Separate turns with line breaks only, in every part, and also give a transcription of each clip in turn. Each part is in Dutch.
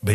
Ben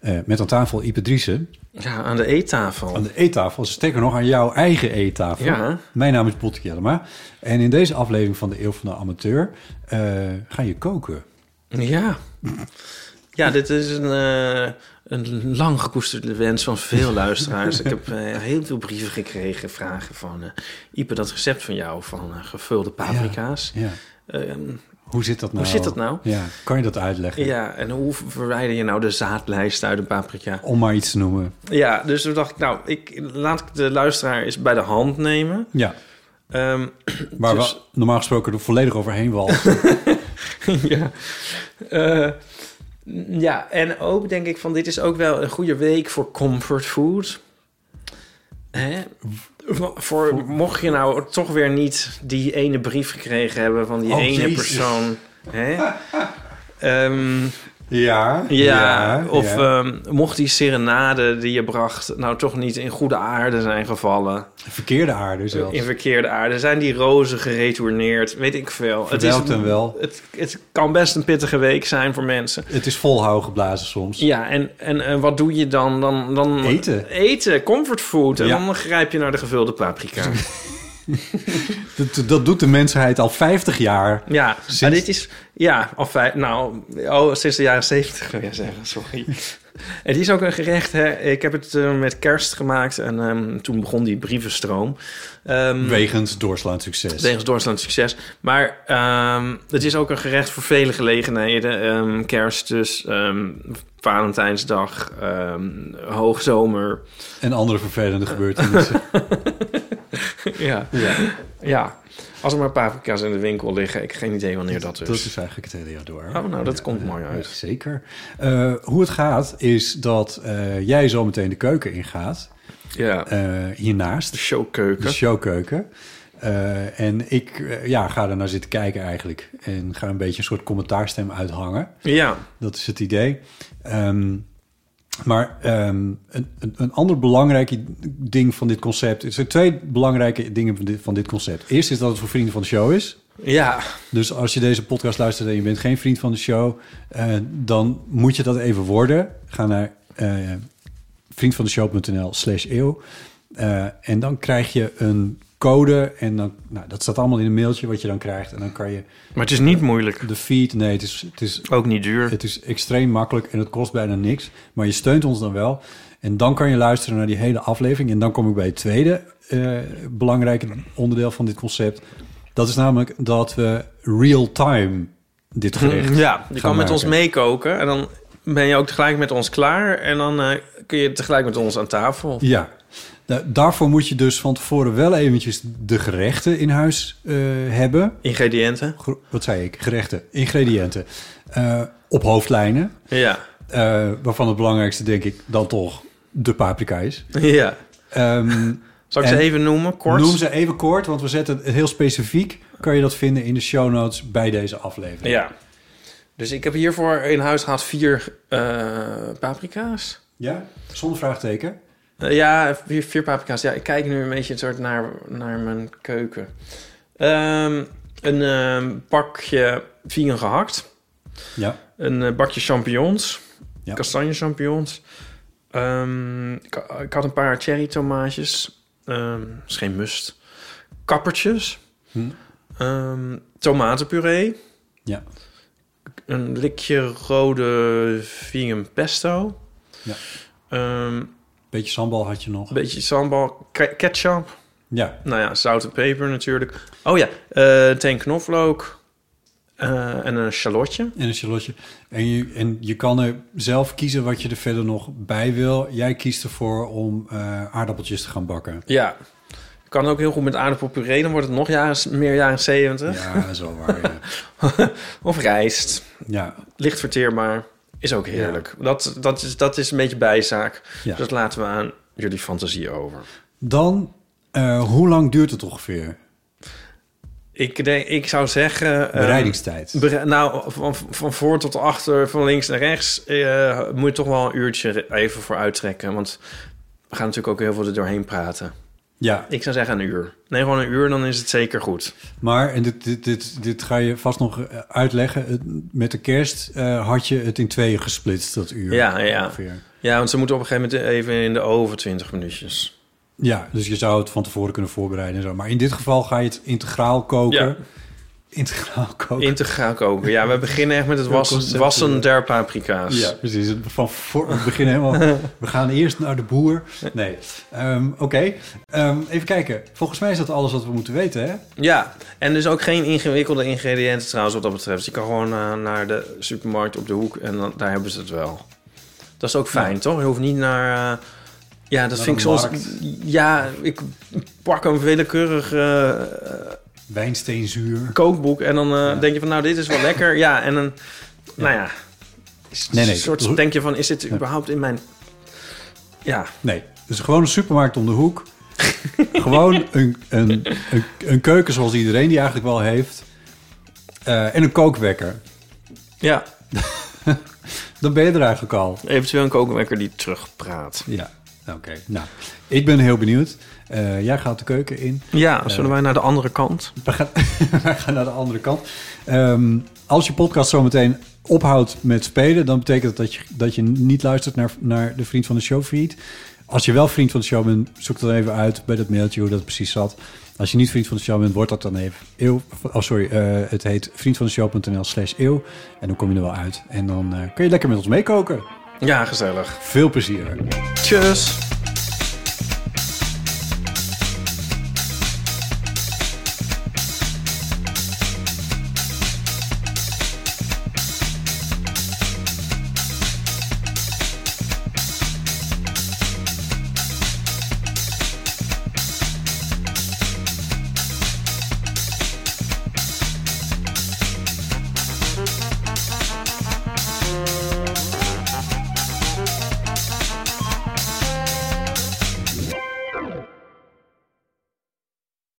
Eh, met aan tafel Ipe Driessen.
Ja, aan de eettafel.
Aan de eettafel, sterker nog aan jouw eigen eettafel.
Ja.
Mijn naam is Botte Jellema. En in deze aflevering van de Eeuw van de Amateur eh, ga je koken.
Ja. Ja, dit is een, eh, een lang gekoesterde wens van veel luisteraars. Ik heb eh, heel veel brieven gekregen, vragen van... eh Ipe, dat recept van jou van eh, gevulde paprika's.
Ja.
Ehm,
Hoe zit dat nou?
zit dat nou?
Ja, kan je dat uitleggen?
ja, en hoe verwijder je nou de zaadlijst uit een paprika?
Om maar iets te noemen.
Ja, dus toen dacht ik, nou, ik, laat ik de luisteraar eens bij de hand nemen.
Ja,
Ehm,
waar
Dus-
we normaal gesproken er volledig overheen walsen.
ja. Eh, ja, en ook denk ik van dit is ook wel een goede week voor comfort food. Hè? Voor, mocht je nou toch weer niet die ene brief gekregen hebben van die
Oh,
ene
Jezus.
persoon. Hè? Ehm,
ja,
ja, of
ja.
ehm, mocht die serenade die je bracht nou toch niet in goede aarde zijn gevallen.
Verkeerde aarde zelfs.
In verkeerde aarde. Zijn die rozen geretourneerd? Weet ik veel.
Verwelkt hem wel.
Het, het kan best een pittige week zijn voor mensen.
Het is volhouden geblazen soms.
Ja, en, en, eh, wat doe je dan? dan, dan
Eten.
Eten, comfortfood. En
Ja.
dan grijp je naar de gevulde paprika.
Dat, dat doet de mensheid al 50 jaar.
ja,
Sinds-
maar dit is... Ja, of vijf, nou, oh, sinds de jaren zeventig wil je zeggen, sorry. Het is ook een gerecht, hè. Ik heb het eh, met kerst gemaakt en ehm, toen begon die brievenstroom. Ehm,
Wegens doorslaand succes.
Wegens Duitsland succes. Maar ehm, het is ook een gerecht voor vele gelegenheden. Ehm, kerst dus, ehm, Valentijnsdag, ehm, hoogzomer.
En andere vervelende gebeurtenissen.
Ja. ja. Als er maar paprika's in de winkel liggen. Ik heb geen idee wanneer dat is.
Dat is eigenlijk het hele jaar door.
Oh, nou, dat komt mooi
ja,
uit.
zeker. Eh, hoe het gaat is dat eh, jij zo meteen de keuken ingaat.
Ja.
eh hiernaast,
de showkeuken.
de showkeuken. Eh, en ik eh, ja, ga er naar zitten kijken eigenlijk. En ga een beetje een soort commentaarstem uithangen.
ja.
Dat is het idee. Ehm, maar ehm, een, een, een ander belangrijk i- ding van dit concept... Er zijn twee belangrijke dingen van dit, van dit concept. Eerst is dat het voor vrienden van de show is.
Ja.
Dus als je deze podcast luistert en je bent geen vriend van de show, eh, dan moet je dat even worden. Ga naar eh vriendvandeshow.nl slash eeuw. Eh, en dan krijg je een code. En dan, nou, dat staat allemaal in een mailtje wat je dan krijgt. En dan kan je
Maar het is niet moeilijk.
de feed. Nee, het is, het is,
Ook niet duur.
het is extreem makkelijk en het kost bijna niks. Maar je steunt ons dan wel. En dan kan je luisteren naar die hele aflevering. En dan kom ik bij het tweede eh, belangrijke onderdeel van dit concept. Dat is namelijk dat we real-time dit gerecht
Hm, Ja. Je
gaan
kan met ons
maken.
meekoken. En dan ben je ook tegelijk met ons klaar. En dan eh, kun je tegelijk met ons aan tafel.
Ja. Da- daarvoor moet je dus van tevoren wel eventjes de gerechten in huis eh, hebben.
Ingrediënten.
Gro- Wat zei ik? Gerechten, ingrediënten. Eh, op hoofdlijnen.
Ja.
Eh, waarvan het belangrijkste denk ik dan toch de paprika is.
Ja.
Ehm,
Zal ik
En-
ze even noemen? Kort.
Noem ze even kort, want we zetten het heel specifiek. Kan je dat vinden in de show notes bij deze aflevering?
Ja. Dus ik heb hiervoor in huis gehad vier eh, paprika's.
Ja? Zonder vraagteken?
Eh, ja, vier, vier paprika's. Ja, ik kijk nu een beetje een soort naar, naar mijn keuken. Ehm, een ehm, bakje vegan gehakt.
Ja.
Een eh, bakje champignons.
Ja.
Kastanje champignons. Ehm, ik, ik had een paar cherry tomaatjes. Ehm is geen must. Kappertjes.
Hm.
Ehm, tomatenpuree.
Ja.
Een likje rode vegan pesto.
Ja.
Ehm,
Beetje sambal had je nog.
een beetje sambal, ke- ketchup.
Ja,
Nou ja, zout en peper natuurlijk. Oh ja, eh teen knoflook. eh, en een shallotje.
en een shallotje. En je, en je kan er zelf kiezen wat je er verder nog bij wil. Jij kiest ervoor om eh, aardappeltjes te gaan bakken.
Ja. Kan ook heel goed met aardappelpuree. Dan wordt het nog jaren, meer jaren 70.
Ja, dat is wel waar. ja.
Of rijst.
ja.
Licht verteerbaar. Is ook heerlijk. Dat, dat, is, dat is een beetje bijzaak.
Ja.
Dus dat laten we aan jullie fantasie over.
Dan, eh, hoe lang duurt het ongeveer?
Ik, denk, ik zou zeggen... eh,
Bereidingstijd.
bere- nou, van, van voor tot achter, van links naar rechts... eh, moet je toch wel een uurtje even voor uittrekken. Want we gaan natuurlijk ook heel veel er doorheen praten.
ja,
Ik zou zeggen een uur. Nee, gewoon een uur, dan is het zeker goed.
maar, en dit, dit, dit, dit ga je vast nog eh, uitleggen. Het- Met de kerst eh, had je het in tweeën gesplitst, dat uur.
Ja, ja.
Ongeveer.
Ja, want ze moeten op een gegeven moment even in de oven 20 minuutjes.
Ja, dus je zou het van tevoren kunnen voorbereiden en zo. Maar in dit geval ga je het integraal koken.
Ja.
Integraal koken.
Integraal koken. Ja, we beginnen echt met het
Heel
was,
conceptueel.
wassen der paprika's.
ja, precies. Het- Van voor het begin helemaal. We gaan eerst naar de boer. Nee. Ehm, Oké. Ehm, even kijken. Volgens mij is dat alles wat we moeten weten, hè?
Ja, en dus ook geen ingewikkelde ingrediënten trouwens wat dat betreft. Je kan gewoon eh, naar de supermarkt op de hoek en dan, daar hebben ze het wel. Dat is ook fijn, toch? Je hoeft niet naar... eh, ja, dat vind ik
de
soms...
markt.
Ja, ik pak een willekeurig eh,
Wijnsteenzuur.
kookboek en dan eh, denk je van... Nou, dit is wel lekker. Ja, en dan... Nou ja. Is,
Nee, nee.
Een soort, denk je van, is dit überhaupt in mijn... Ja,
Nee. Dus gewoon een supermarkt om de hoek. gewoon een, een, een, een keuken zoals iedereen die eigenlijk wel heeft. Eh, en een kookwekker.
ja.
Dan ben je er eigenlijk al.
Eventueel een kookwekker die terugpraat.
Ja, oké. Nou, ik ben heel benieuwd. Eh, jij gaat de keuken in.
Ja, zullen wij naar de andere kant?
We gaan, we gaan naar de andere kant. Ehm, als je podcast zometeen ophoudt met spelen, dan betekent dat dat je, dat je niet luistert naar, naar de Vriend van de Show feed. Als je wel Vriend van de Show bent, zoek dan even uit bij dat mailtje hoe dat precies zat. Als je niet Vriend van de Show bent, wordt dat dan even eeuw. Oh, sorry, eh, het heet vriendvandeshow.nl slash eeuw. En dan kom je er wel uit. En dan eh, kun je lekker met ons meekoken.
Ja, gezellig.
Veel plezier.
Tjus!